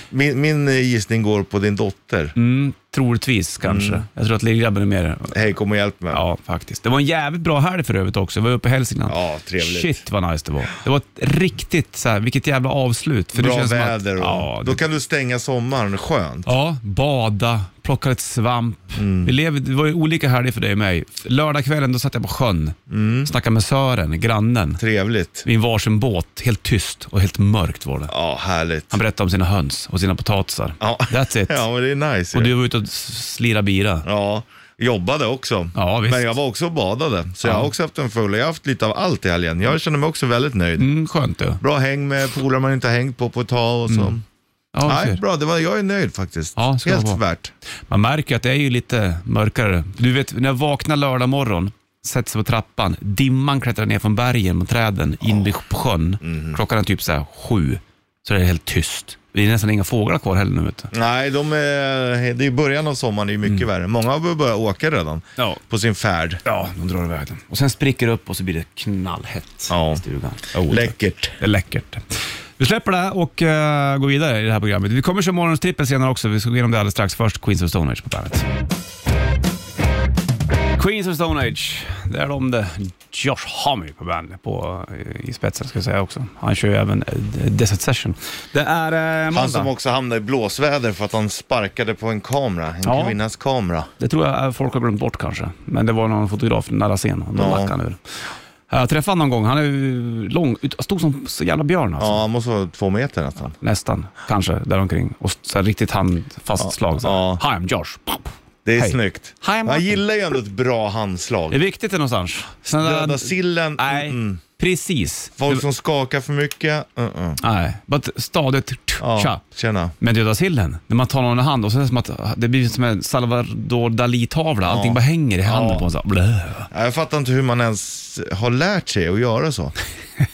Speaker 3: Min, min eh, gissning går på din dotter.
Speaker 2: Mm, troligtvis kanske.
Speaker 3: Mm.
Speaker 2: Jag tror att lillgrabben är mer...
Speaker 3: Hej, kom och hjälp mig.
Speaker 2: Ja, faktiskt. Det var en jävligt bra helg för övrigt också. Jag var uppe i Hälsingland.
Speaker 3: Ja, trevligt.
Speaker 2: Shit vad nice det var. Det var ett riktigt så här, vilket jävla avslut. För det
Speaker 3: Bra
Speaker 2: känns som
Speaker 3: väder
Speaker 2: Att,
Speaker 3: och,
Speaker 2: ja,
Speaker 3: då
Speaker 2: det,
Speaker 3: kan du stänga sommaren skönt.
Speaker 2: ja, bada, plocka lite svamp.
Speaker 3: Mm.
Speaker 2: Vi lever, det var ju olika helger för dig och mig. Lördagskvällen då satt jag på sjön,
Speaker 3: Mm.
Speaker 2: snackade med Sören, grannen.
Speaker 3: Trevligt.
Speaker 2: Vid en varsin båt, helt tyst och helt mörkt var det.
Speaker 3: Ja, härligt.
Speaker 2: Han berättade om sina höns och sina potatisar.
Speaker 3: Ja.
Speaker 2: That's it.
Speaker 3: Ja, men det är nice.
Speaker 2: Och
Speaker 3: ju.
Speaker 2: du var ute och s- slirade bira.
Speaker 3: Ja, jobbade också.
Speaker 2: Ja, visst.
Speaker 3: Men jag var också och badade. Så jag har också haft en full. Jag har haft lite av allt i helgen. Jag känner mig också väldigt nöjd.
Speaker 2: Mm, skönt du.
Speaker 3: Bra häng med polare man inte har hängt på på ett tag och så.
Speaker 2: Mm. Ja, vi
Speaker 3: Nej,
Speaker 2: ser.
Speaker 3: bra. Det var, jag är nöjd faktiskt.
Speaker 2: Ja, ska det
Speaker 3: Helt
Speaker 2: vara.
Speaker 3: värt.
Speaker 2: Man märker att det är ju lite mörkare. Du vet, när jag vaknar lördag morgon, sätter sig på trappan, dimman klättrar ner från bergen mot träden in vid på sjön.
Speaker 3: Mm.
Speaker 2: Klockan är typ så här sju, så är det helt tyst. Det är nästan inga fåglar kvar heller nu. Vet du.
Speaker 3: Nej, de är, det är början av sommaren, det är mycket värre. Många har börjat åka redan
Speaker 2: Mm. Ja.
Speaker 3: på sin färd.
Speaker 2: Ja, de drar iväg den. Och sen spricker det upp och så blir det knallhett
Speaker 3: Ja.
Speaker 2: i stugan. Oh,
Speaker 3: Läckert.
Speaker 2: Det är läckert. Vi släpper det här och eh, går vidare i det här programmet. Vi kommer köra morgonens trippel senare också. Vi ska gå igenom det alldeles strax. Först Queens of Stone Age på bandet. Queens of Stone Age, där är de det. Josh Homme på bandet, på, eh, i spetsen ska jag säga också. Han kör ju även eh, Desert Session. Det är eh,
Speaker 3: Han som
Speaker 2: måndag.
Speaker 3: också hamnade i blåsväder för att han sparkade på en kamera, en
Speaker 2: Ja.
Speaker 3: kvinnas kamera.
Speaker 2: Det tror jag eh, folk har glömt bort kanske. Men det var någon fotograf nära scen. Då
Speaker 3: Ja.
Speaker 2: lackade han ur. Jag träffade honom någon gång. Han är ju lång, ut- stor som så jävla björn alltså.
Speaker 3: Ja, han måste vara två meter nästan.
Speaker 2: Nästan, kanske däromkring. Och så här riktigt handfast slag. Så här.
Speaker 3: ja.
Speaker 2: Hi, I'm Josh. Pop.
Speaker 3: Det är
Speaker 2: Hej.
Speaker 3: snyggt.
Speaker 2: Hi, Martin.
Speaker 3: Han gillar ju ändå ett bra
Speaker 2: Det är
Speaker 3: handslag.
Speaker 2: viktigt det någonstans. Sen,
Speaker 3: Döda sillen,
Speaker 2: Äh, Nej,
Speaker 3: mm.
Speaker 2: precis.
Speaker 3: folk
Speaker 2: Det-
Speaker 3: som skakar för mycket, uh-uh.
Speaker 2: Nej, but stadigt. tch,
Speaker 3: ja,
Speaker 2: Tja.
Speaker 3: tjena.
Speaker 2: Men döda sillen, när man tar någon i hand och så är det som att det blir som en Salvador Dalí-tavla. Allting bara hänger i handen
Speaker 3: Ja.
Speaker 2: på en. Så här, blö.
Speaker 3: Nej, Jag fattar inte hur man ens har lärt sig att göra så.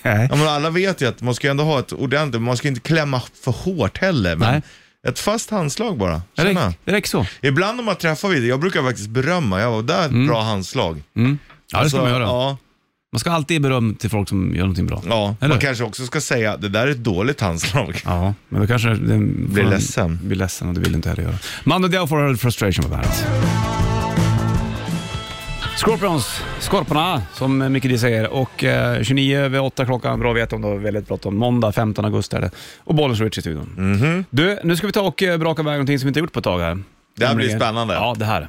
Speaker 3: ja, men alla vet ju att man ska ju ändå ha ett ordentligt, man ska inte klämma för hårt heller. Men
Speaker 2: Nej.
Speaker 3: Ett fast handslag bara.
Speaker 2: Det
Speaker 3: Tjena.
Speaker 2: räcker, det räcker så.
Speaker 3: Ibland om man träffar vid, jag brukar faktiskt berömma, jag var där ett bra handslag.
Speaker 2: Mm. Ja, det ska
Speaker 3: Så,
Speaker 2: man göra.
Speaker 3: Alltså, Ja,
Speaker 2: Man ska alltid ge beröm till folk som gör någonting bra.
Speaker 3: ja.
Speaker 2: Eller?
Speaker 3: Man kanske också ska säga, det där är ett dåligt handslag.
Speaker 2: Ja, men då kanske den
Speaker 3: Blir ledsen.
Speaker 2: Blir ledsen och det vill inte heller göra. Mando Diao får Earl Frustration på bandet. Scorpions, Skorporna som Micke D säger och eh, 29 över 8 klockan, bra att veta om du har väldigt bråttom. Måndag 15 augusti är det och Bollens Rich i studion. Du, nu ska vi ta och eh, braka iväg någonting som vi inte gjort på ett tag här.
Speaker 3: Mhm. Det här blir spännande.
Speaker 2: Ja, det här.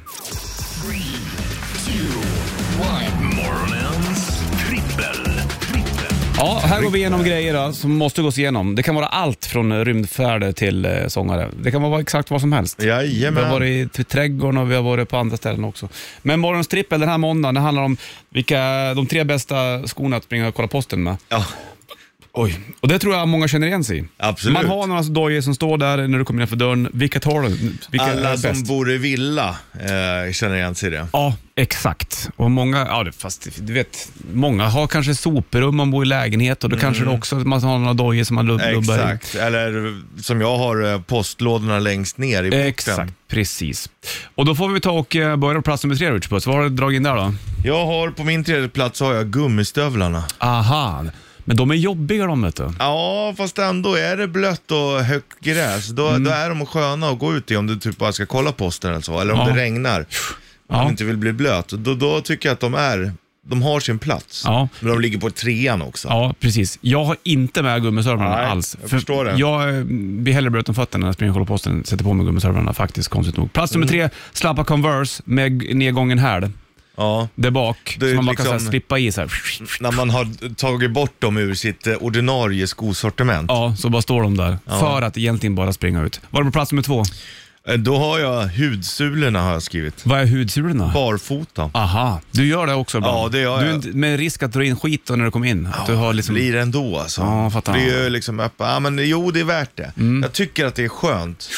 Speaker 1: Morgonens trippel. trippel.
Speaker 2: Ja, här går vi igenom grejer då, som måste gås igenom. Det kan vara allt från eh, rymdfärder till eh, sångare. Det kan vara exakt vad som helst. Vi
Speaker 3: Jajamän.
Speaker 2: har
Speaker 3: Varit...
Speaker 2: varit i trädgården och vi har varit på andra ställen också. Men morgons trippel den här måndagen, det handlar om vilka de tre bästa skorna att springa och kolla posten med.
Speaker 3: Ja.
Speaker 2: Oj, och det tror jag många känner igen sig i.
Speaker 3: Absolut.
Speaker 2: Man har några dojor som står där när du kommer innanför dörren. Vilka tar du? Vilka
Speaker 3: Alla
Speaker 2: är
Speaker 3: som
Speaker 2: bäst?
Speaker 3: bor i villa eh, känner igen sig i det.
Speaker 2: Ja, exakt. Och många, ja, det- fast du vet, många har kanske soprum man bor i lägenhet och då kanske det också man har några dojor som man lub- lubbar i.
Speaker 3: Mm. Exakt, eller som jag har eh, postlådorna längst ner i boken.
Speaker 2: Exakt, precis. Och då får vi ta och eh, börja på plats nummer tre, Rich Puss. Vad har du dragit in där då?
Speaker 3: Jag har på min tredje plats har jag gummistövlarna.
Speaker 2: Aha, men de är jobbiga de vet du.
Speaker 3: Ja, fast ändå är det blött och högt gräs, då, då är de sköna att gå ut i om du typ bara ska kolla posten eller så, eller om
Speaker 2: Ja.
Speaker 3: det regnar. Om
Speaker 2: Ja.
Speaker 3: du inte vill bli blöt, då, då tycker jag att de är, de har sin plats.
Speaker 2: Ja.
Speaker 3: Men de ligger på trean också.
Speaker 2: Ja, precis. Jag har inte med gummisörvlarna
Speaker 3: Nej,
Speaker 2: alls.
Speaker 3: jag förstår det.
Speaker 2: Jag eh, blir hellre bruten fötterna när jag springer och håller posten sätter på mig gummisörvlarna faktiskt, konstigt nog. Plats nummer
Speaker 3: Mm.
Speaker 2: tre, slappa Converse med g- nedgången här
Speaker 3: Ja.
Speaker 2: där bak.
Speaker 3: Det är
Speaker 2: Så man bara kan
Speaker 3: liksom-
Speaker 2: så här, slippa i så här.
Speaker 3: När man har tagit bort dem ur sitt eh, ordinarie skosortiment.
Speaker 2: Ja, så bara står de där. För att egentligen bara springa ut. Var det på plats nummer två?
Speaker 3: Eh, Då har jag hudsulorna har jag skrivit.
Speaker 2: Vad är hudsulorna?
Speaker 3: Barfota.
Speaker 2: Aha, du gör det också ibland?
Speaker 3: Ja, det gör
Speaker 2: du,
Speaker 3: jag.
Speaker 2: är inte- Med risk att dra in skit då när du kommer in? Att du har liksom...
Speaker 3: Blir det ändå alltså.
Speaker 2: Ja, fattar. Mm.
Speaker 3: det är ju liksom öppet. Ja, men jo, det är värt det. Jag tycker att det är skönt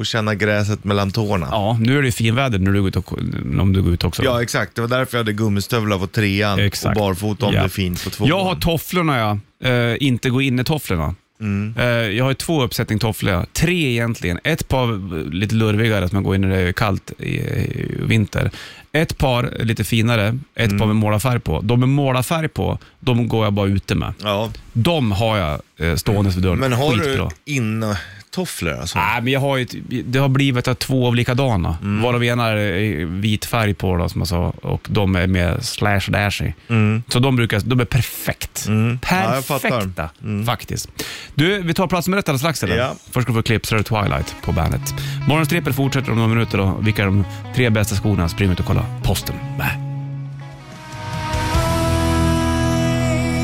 Speaker 3: att känna gräset mellan tårna. Ja.
Speaker 2: Ja, nu är det ju finväder när du går ut och, om du går ut också.
Speaker 3: exakt. Det var därför jag hade gummistövlar på trean
Speaker 2: Exakt.
Speaker 3: och barfota om
Speaker 2: Ja.
Speaker 3: det är fint på tvåan.
Speaker 2: Jag har tofflorna ja, eh, inte gå in i tofflorna.
Speaker 3: Mm.
Speaker 2: Eh, jag har ju två uppsättning tofflor, ja. tre egentligen. Ett par eh, lite lurvigare, att man går in när det är kallt i, i vinter. Ett par eh, lite finare, ett
Speaker 3: Mm.
Speaker 2: par med målarfärg på. De med målarfärg på, de går jag bara ute med.
Speaker 3: ja.
Speaker 2: De har jag eh, stående vid dörren.
Speaker 3: Men har
Speaker 2: Skitbra.
Speaker 3: du intofflor alltså?
Speaker 2: Nej, men jag har ju, ett- det har blivit att jag har två av likadana.
Speaker 3: Mm.
Speaker 2: Varav ena är eh, vit färg på då, som jag sa och de är mer slash dashy. Så de, brukar, de är perfekt.
Speaker 3: Mm. Ja, jag fattar. Mm.
Speaker 2: Perfekta faktiskt. Du, vi tar plats med rätt alldeles strax eller?
Speaker 3: Ja.
Speaker 2: Först ska vi få klipp, så är det Twilight på bandet. Morgonens trippel fortsätter om några minuter. Då. Vilka är de tre bästa skorna? Spring ut och kolla posten. Bä.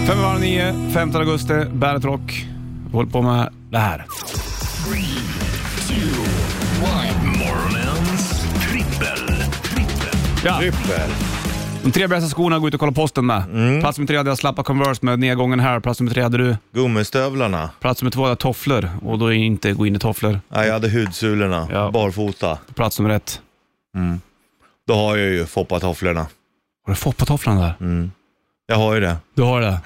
Speaker 2: Fem över halv nio, 15 augusti, Bandet Rock. Vi håller på med det här.
Speaker 1: Morgonens trippel. trippel.
Speaker 2: Ja. De tre bästa skorna går ut och kolla posten med.
Speaker 3: Mm.
Speaker 2: Plats nummer tre hade jag slappa Converse med nedgången här. Plats nummer tre hade du.
Speaker 3: Gummistövlarna.
Speaker 2: Plats nummer två hade jag tofflor och då är inte gå in i tofflor.
Speaker 3: Ja, jag hade hudsulorna,
Speaker 2: Ja.
Speaker 3: barfota.
Speaker 2: Plats nummer ett.
Speaker 3: Då har jag ju foppatofflorna.
Speaker 2: Har du foppatofflan där?
Speaker 3: Mm. Jag har ju det.
Speaker 2: Du har det.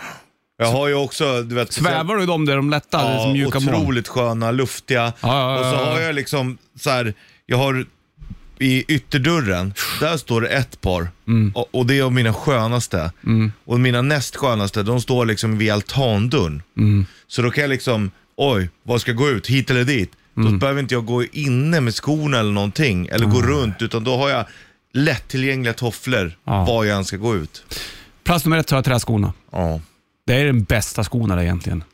Speaker 3: Jag har ju också, du vet,
Speaker 2: Svävar du i dem där de lätta? det är
Speaker 3: Ja,
Speaker 2: som mjuka moln.
Speaker 3: otroligt sköna, luftiga.
Speaker 2: ja, ja,
Speaker 3: och så
Speaker 2: ja.
Speaker 3: har jag liksom så här, jag har i ytterdörren, där står det ett par.
Speaker 2: Mm.
Speaker 3: Och, och det är av mina skönaste. Och mina näst skönaste, de står liksom vid altandörren.
Speaker 2: Mm.
Speaker 3: Så då kan jag liksom, oj, vad ska jag gå ut? Hit eller dit?
Speaker 2: Mm.
Speaker 3: Då behöver inte jag gå inne med skorna eller någonting, eller
Speaker 2: Ah.
Speaker 3: gå runt, utan då har jag lättillgängliga tofflor
Speaker 2: Ja.
Speaker 3: var jag än ska gå ut.
Speaker 2: Plats nummer ett har jag träskorna.
Speaker 3: Ja.
Speaker 2: Det är den bästa skorna där egentligen.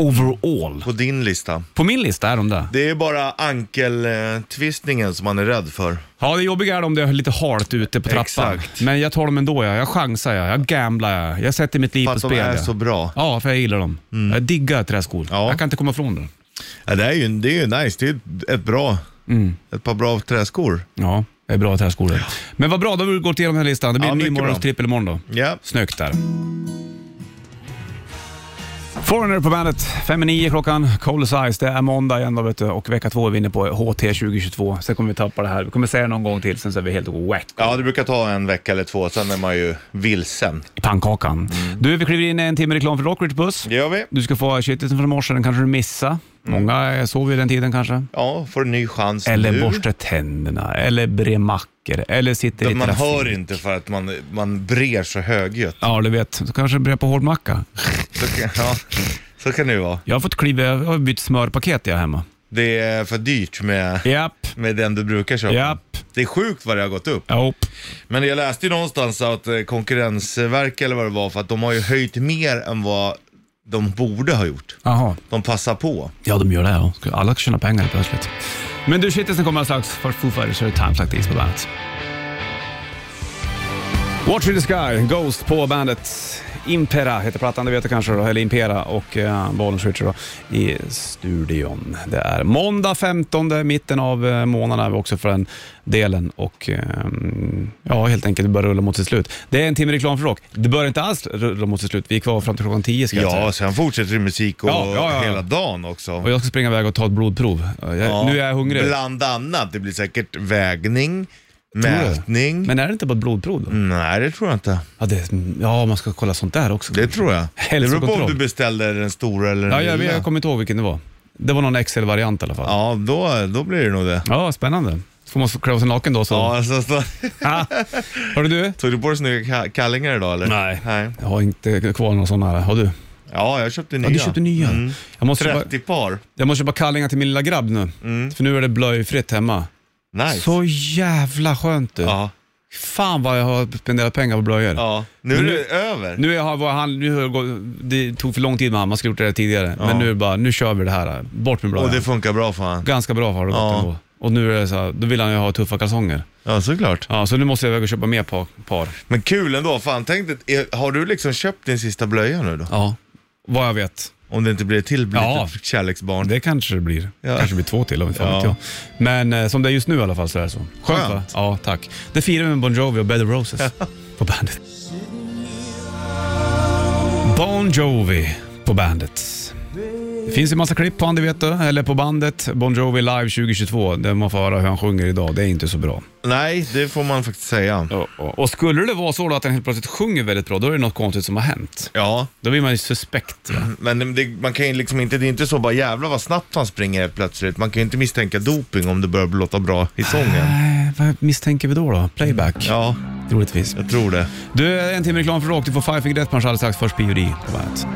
Speaker 2: Overall.
Speaker 3: På din lista.
Speaker 2: På min lista är de där.
Speaker 3: Det är bara ankeltvistningen som man är rädd för.
Speaker 2: Ja, det jobbiga är om det är lite halt ute på trappan.
Speaker 3: Exakt.
Speaker 2: Men jag tar dem ändå. Ja. Jag chansar, ja. jag gamblar, ja. jag sätter mitt liv
Speaker 3: För
Speaker 2: på
Speaker 3: att
Speaker 2: spel.
Speaker 3: de är
Speaker 2: ja.
Speaker 3: så bra. Mm.
Speaker 2: Ja, för jag gillar dem. Jag diggar träskor.
Speaker 3: Ja.
Speaker 2: Jag kan inte komma ifrån dem.
Speaker 3: Ja, det, är ju, det är ju nice, det är ju ett bra,
Speaker 2: Mm.
Speaker 3: ett par bra träskor.
Speaker 2: Ja, det är bra träskor. det. Men vad bra, då har vi gått igenom den här listan. Det blir
Speaker 3: Ja,
Speaker 2: en ny
Speaker 3: mycket
Speaker 2: morgons
Speaker 3: bra.
Speaker 2: trippel imorgon då.
Speaker 3: Ja.
Speaker 2: Snyggt där. Foreigner på bandet. Fem i nio klockan. Cold Size. Det är måndag igen då, vet du. och vecka två är vi inne på HT 2022. Sen kommer vi tappa det här. Vi kommer säga det någon gång till, sen så är vi helt whack.
Speaker 3: Ja, det brukar ta en vecka eller två, sen är man ju vilsen.
Speaker 2: i pannkakan.
Speaker 3: Mm.
Speaker 2: Du, vi kliver in i en timme reklam för Rockridge Buss.
Speaker 3: Det gör vi.
Speaker 2: Du ska få shitlisten från morse, den kanske du missade.
Speaker 3: Mm.
Speaker 2: Många eh, sov ju den tiden kanske.
Speaker 3: Ja, får en ny chans
Speaker 2: Eller
Speaker 3: nu.
Speaker 2: borstar tänderna, eller brer mackor, eller sitter i
Speaker 3: Man
Speaker 2: trafik.
Speaker 3: hör inte för att man, man brer så högljutt.
Speaker 2: Ja, du vet. Så kanske brer på hårdmacka.
Speaker 3: Så, kan- ja, så kan det ju vara.
Speaker 2: Jag har fått kliva, jag har bytt smörpaket jag hemma.
Speaker 3: Det är för dyrt med,
Speaker 2: Japp,
Speaker 3: med den du brukar köpa.
Speaker 2: japp,
Speaker 3: Det är sjukt vad det har gått upp.
Speaker 2: japp.
Speaker 3: Men jag läste ju någonstans att eh, Konkurrensverket eller vad det var, för att de har ju höjt mer än vad de borde ha gjort.
Speaker 2: Jaha.
Speaker 3: De passar på.
Speaker 2: Ja, de gör det. Ja. Ska Alla tjäna pengar plötsligt. Men du, shitlisten kommer alldeles strax. Först Foo Fighters så är det Times Like This på bandet. Watch in the Sky, Ghost på bandet. Impera heter plattan, det vet du kanske, då, eller Impera och eh, Bollnäs Ritchie då i studion. Det är måndag 15, mitten av eh, månaden är vi också för den delen och eh, ja, helt enkelt, det börjar rulla mot sitt slut. Det är en timme reklam för rock. Det börjar inte alls rulla mot sitt slut, vi är kvar fram till klockan 10 ska jag säga.
Speaker 3: Ja, sen fortsätter det musik och
Speaker 2: Ja, ja, ja.
Speaker 3: hela dagen också.
Speaker 2: Och jag ska springa iväg och ta ett blodprov. Jag,
Speaker 3: Ja,
Speaker 2: Nu är jag hungrig.
Speaker 3: Bland annat. Det blir säkert vägning,
Speaker 2: Tror du?
Speaker 3: mätning.
Speaker 2: Men är det inte bara ett blodprov då?
Speaker 3: Nej, det tror jag inte.
Speaker 2: Ja, det, ja, man ska kolla sånt där också.
Speaker 3: Det tror jag. Det beror på om
Speaker 2: Hälsokontroll.
Speaker 3: du beställer den stora eller
Speaker 2: Ja,
Speaker 3: den
Speaker 2: jag, jag kommer inte ihåg vilken det var. Det var någon XL-variant i alla fall. Ja,
Speaker 3: Ja, då, då blir det nog det.
Speaker 2: spännande. Får man klä av sig naken då så.
Speaker 3: Ja, alltså, så,
Speaker 2: Ah. Hörru du?
Speaker 3: tog du på dig snygga ka- kallingar idag eller?
Speaker 2: Nej. Jag har inte kvar någon sån här. Har du?
Speaker 3: Ja, jag köpte nya.
Speaker 2: Ja, du köpte nya.
Speaker 3: Mm.
Speaker 2: Jag, måste köpa,
Speaker 3: 30 par.
Speaker 2: jag måste köpa kallingar till min lilla grabb nu. För nu är det blöjfritt hemma.
Speaker 3: Mm. Nice.
Speaker 2: Så jävla skönt du.
Speaker 3: Ja,
Speaker 2: Fan vad jag har spenderat pengar på blöjor.
Speaker 3: ja. Nu är
Speaker 2: Men nu-
Speaker 3: det över.
Speaker 2: Nu har, var han, nu har jag gått, det tog för lång tid med han, man skulle gjort det där tidigare. Men nu är det bara, nu kör vi det här. Bort med
Speaker 3: och
Speaker 2: blöjan.
Speaker 3: det funkar bra för han.
Speaker 2: Ganska bra har det gått
Speaker 3: Ja.
Speaker 2: ändå. Och nu är det så här, då vill han ju ha tuffa kalsonger.
Speaker 3: Ja, såklart.
Speaker 2: Ja, så nu måste jag iväg och köpa mer par. par.
Speaker 3: Men kul ändå. Fan, tänk dig, är- har du liksom köpt din sista blöja nu då?
Speaker 2: Ja. Vad jag vet.
Speaker 3: Om det inte blir ett till blir det
Speaker 2: Ja.
Speaker 3: ett kärleksbarn.
Speaker 2: Det kanske det blir.
Speaker 3: Ja.
Speaker 2: kanske det blir två till, om inte fan
Speaker 3: Ja.
Speaker 2: vet jag. Men eh, som det är just nu i alla fall så är det så. Skönt,
Speaker 3: Skönt.
Speaker 2: va? Ja, tack. Det firar vi med Bon Jovi och Bed of Roses på bandet. Bon Jovi på bandet. Det finns ju massa klipp på han, det vet du, eller på bandet. Bon Jovi live 2022, där man får höra hur han sjunger idag. Det är inte så bra.
Speaker 3: Nej, det får man faktiskt säga.
Speaker 2: Och skulle det vara så då att han helt plötsligt sjunger väldigt bra, då är det något konstigt som har hänt.
Speaker 3: Ja,
Speaker 2: Då blir man ju suspekt. va?
Speaker 3: men det, man kan ju liksom inte, det är inte så bara jävlar vad snabbt han springer helt plötsligt. Man kan ju inte misstänka doping om det börjar låta bra i sången.
Speaker 2: Nej, vad misstänker vi då? då? Playback,
Speaker 3: Ja,
Speaker 2: troligtvis.
Speaker 3: jag tror det.
Speaker 2: Du, en timme reklam för rock. Du får Five Finger Death Punch alldeles strax. Först P.O.D. på bandet.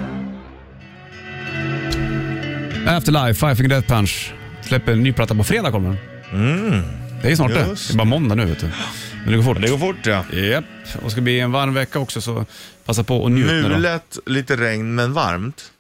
Speaker 2: Afterlife, Five Finger Death Punch. Släpper en ny platta på fredag kommer den. Det är snart det.
Speaker 3: Mm. Just
Speaker 2: Det är bara måndag nu vet du. Men det går fort.
Speaker 3: Men det går fort ja.
Speaker 2: Japp. Och det ska bli en varm vecka också så passa på och njut nu då.
Speaker 3: Mulet, lite regn men varmt.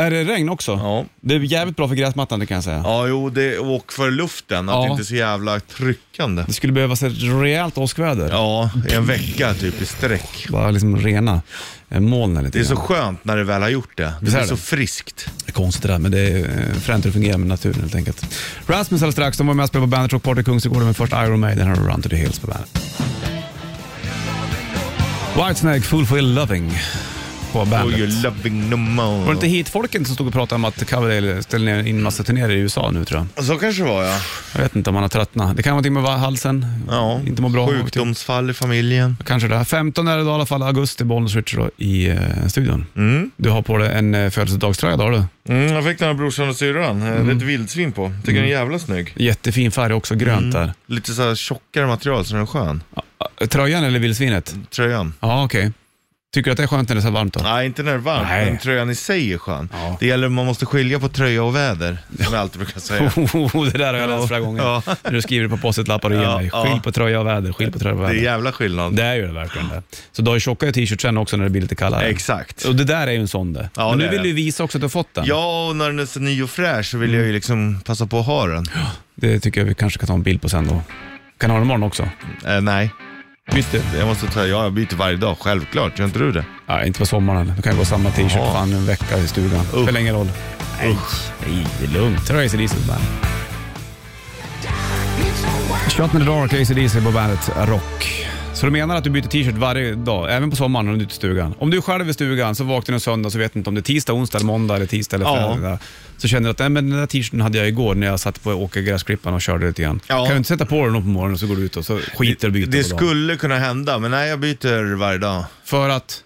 Speaker 2: Är det regn också?
Speaker 3: Ja.
Speaker 2: Det är jävligt bra för gräsmattan det kan jag säga.
Speaker 3: Ja, jo, det, och för luften, att
Speaker 2: Ja.
Speaker 3: det inte är så jävla tryckande.
Speaker 2: Det skulle behövas ett rejält åskväder.
Speaker 3: Ja, i en vecka typ i sträck.
Speaker 2: Bara liksom rena eh, molnen lite
Speaker 3: Det är så
Speaker 2: grann.
Speaker 3: skönt när det väl har gjort det. Det
Speaker 2: Visst är
Speaker 3: blir så
Speaker 2: det?
Speaker 3: friskt.
Speaker 2: Det är konstigt det där, men det är eh, fränt hur det fungerar med naturen helt enkelt. Rasmus alldeles strax, de var med och spelade på Bandet Rock Party i Kungsträdgården, men först Iron Maiden har Run to the Hills på bandet. Whitesnake, Fool for Your Loving på
Speaker 3: Oh, you're
Speaker 2: bandet.
Speaker 3: loving no
Speaker 2: Var det inte
Speaker 3: more.
Speaker 2: hitfolken som stod och pratade om att Coverdale ställer ner in massa turnéer i USA nu tror jag?
Speaker 3: Så kanske det var ja.
Speaker 2: Jag vet inte om han har tröttnat. Det kan vara någonting med halsen,
Speaker 3: ja.
Speaker 2: inte må bra.
Speaker 3: typ- Sjukdomsfall i familjen.
Speaker 2: Kanske det. 15 är det då i alla fall, augusti, Bollnäs Richard då, i eh, studion. Du har på dig en eh, födelsedagströja idag har du.
Speaker 3: Mm, jag fick den av brorsan och syrran. Eh, Det är ett vildsvin på. Tycker den är jävla snygg.
Speaker 2: Jättefin färg också, grönt där.
Speaker 3: Mm. Lite så här tjockare material så den är skön.
Speaker 2: Eh, Tröjan eller vildsvinet?
Speaker 3: Tröjan.
Speaker 2: Ja, okej. Tycker du att det är skönt när det är så här varmt då?
Speaker 3: Mm. Nej, inte när det är varmt,
Speaker 2: Nej.
Speaker 3: men tröjan i sig är skön.
Speaker 2: Ja.
Speaker 3: Det gäller, man måste skilja på tröja och väder, som jag alltid brukar säga.
Speaker 2: det där har jag läst flera gånger.
Speaker 3: Ja.
Speaker 2: När du skriver på post lappar och ger
Speaker 3: Ja,
Speaker 2: mig.
Speaker 3: ja.
Speaker 2: Skilj på tröja och väder, skilj på tröja och
Speaker 3: Det är
Speaker 2: väder.
Speaker 3: jävla skillnad.
Speaker 2: Det är ju det verkligen det. Så du har ju tjockare t-shirt sen också när det blir lite kallare.
Speaker 3: Exakt.
Speaker 2: Och det där är ju en sån det.
Speaker 3: Ja,
Speaker 2: Men nu
Speaker 3: det är
Speaker 2: vill
Speaker 3: det.
Speaker 2: du visa också att du har fått den.
Speaker 3: Ja, och när den är så ny och fräsch så vill jag ju liksom passa på att ha den.
Speaker 2: Det tycker jag vi kanske kan ta en bild på sen då. Kan ha den imorgon också.
Speaker 3: Eh, nej,
Speaker 2: Byt det.
Speaker 3: jag måste ta, ja, jag byter varje dag, självklart. Gör inte du det?
Speaker 2: Nej, inte på sommaren. Då kan jag gå samma t-shirt
Speaker 3: Ja.
Speaker 2: fan en vecka i stugan.
Speaker 3: Usch.
Speaker 2: Spelar ingen roll. Nej, nej, det är lugnt. Ta AC DC på bandet. Shot in the dark, AC DC på bandet Rock. Så du menar att du byter t-shirt varje dag, även på sommaren när du är ute i stugan? Om du är själv i stugan, så vaknar du en söndag så vet du inte om det är tisdag, onsdag, eller måndag eller tisdag eller
Speaker 3: Ja.
Speaker 2: fredag. Så känner du att nej, men den där t-shirten hade jag igår när jag satt på åkergräsklippan och körde lite grann.
Speaker 3: Ja.
Speaker 2: Kan du inte sätta på den på morgonen och så går du ut och så skiter du och byter
Speaker 3: Det
Speaker 2: på dagen?
Speaker 3: skulle kunna hända, men nej, jag byter varje dag.
Speaker 2: För att...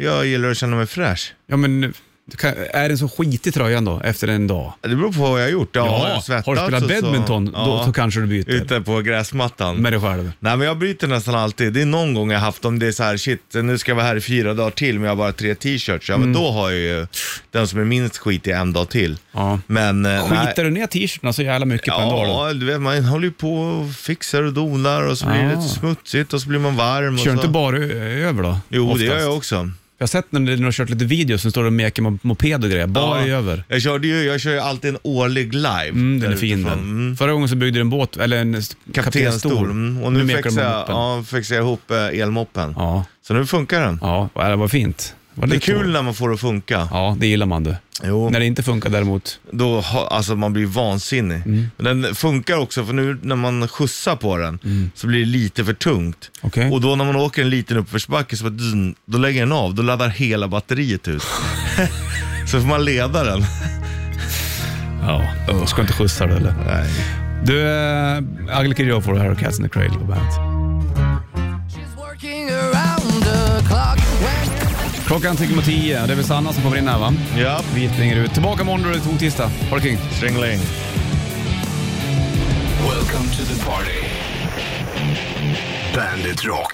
Speaker 3: Jag gillar att känna mig fräsch.
Speaker 2: Ja, men du kan, är den så skitig tröjan då, efter en dag?
Speaker 3: Det beror på vad jag har gjort. Ja, har jag svettats
Speaker 2: har du spelat
Speaker 3: och så-
Speaker 2: badminton, då,
Speaker 3: Ja.
Speaker 2: då kanske du byter.
Speaker 3: Ute på gräsmattan.
Speaker 2: Med dig själv.
Speaker 3: Nej men jag byter nästan alltid. Det är någon gång jag haft om det är så här shit, nu ska jag vara här i fyra dagar till men jag har bara tre t-shirts. Ja men
Speaker 2: Mm.
Speaker 3: då har jag ju den som är minst skit i en dag till.
Speaker 2: Ja.
Speaker 3: Men eh, nej.
Speaker 2: Skiter du ner t-shirtarna så jävla mycket på en dag då?
Speaker 3: Ja, du vet man håller ju på och fixar och donar och så blir
Speaker 2: Ah.
Speaker 3: det lite smutsigt och så blir man varm.
Speaker 2: Kör du
Speaker 3: och så.
Speaker 2: inte bara ö- över då?
Speaker 3: Jo
Speaker 2: Oftast.
Speaker 3: det gör jag också.
Speaker 2: Jag har sett när du när du har kört lite videos, så står du och meker med moped och grejer. Bara
Speaker 3: Ja.
Speaker 2: över.
Speaker 3: Jag, körde ju, jag kör ju alltid en årlig live.
Speaker 2: Mm, den är
Speaker 3: där
Speaker 2: fin
Speaker 3: utifrån.
Speaker 2: den.
Speaker 3: Mm.
Speaker 2: Förra gången så byggde du en båt, eller en s-
Speaker 3: Kaptenstol.
Speaker 2: kaptenstol.
Speaker 3: Mm. Och nu,
Speaker 2: mekar du med
Speaker 3: fixar, jag,
Speaker 2: moppen.
Speaker 3: ja, fixar jag ihop eh, elmoppen.
Speaker 2: Ja.
Speaker 3: Så nu funkar den.
Speaker 2: Ja, ja, det var fint. Var
Speaker 3: Det är
Speaker 2: lite
Speaker 3: kul
Speaker 2: så?
Speaker 3: när man får det att funka.
Speaker 2: Ja, det gillar man du.
Speaker 3: Jo.
Speaker 2: När det Mm. inte funkar däremot.
Speaker 3: då ha, alltså man blir vansinnig. Men den funkar också, för nu när man skjutsar på den så blir det lite för tungt.
Speaker 2: Mm. Okej.
Speaker 3: Och då när man åker en liten uppförsbacke så bara, dzz, då lägger den av, då laddar hela batteriet ut. så får man leda den.
Speaker 2: Ja, jag ska inte skjutsa det eller?
Speaker 3: Nej.
Speaker 2: Du, äh, Ugly Kid Joe får det här och Cats in the Cradle på bandet. Klockan tickar mot tio, det är väl Sanna som kommer in här va?
Speaker 3: Ja,
Speaker 2: Vi springer ut. Tillbaka imorgon då det är det tisdag. Ha det kring.
Speaker 3: stringling.
Speaker 1: Welcome to the party. Bandit Rock.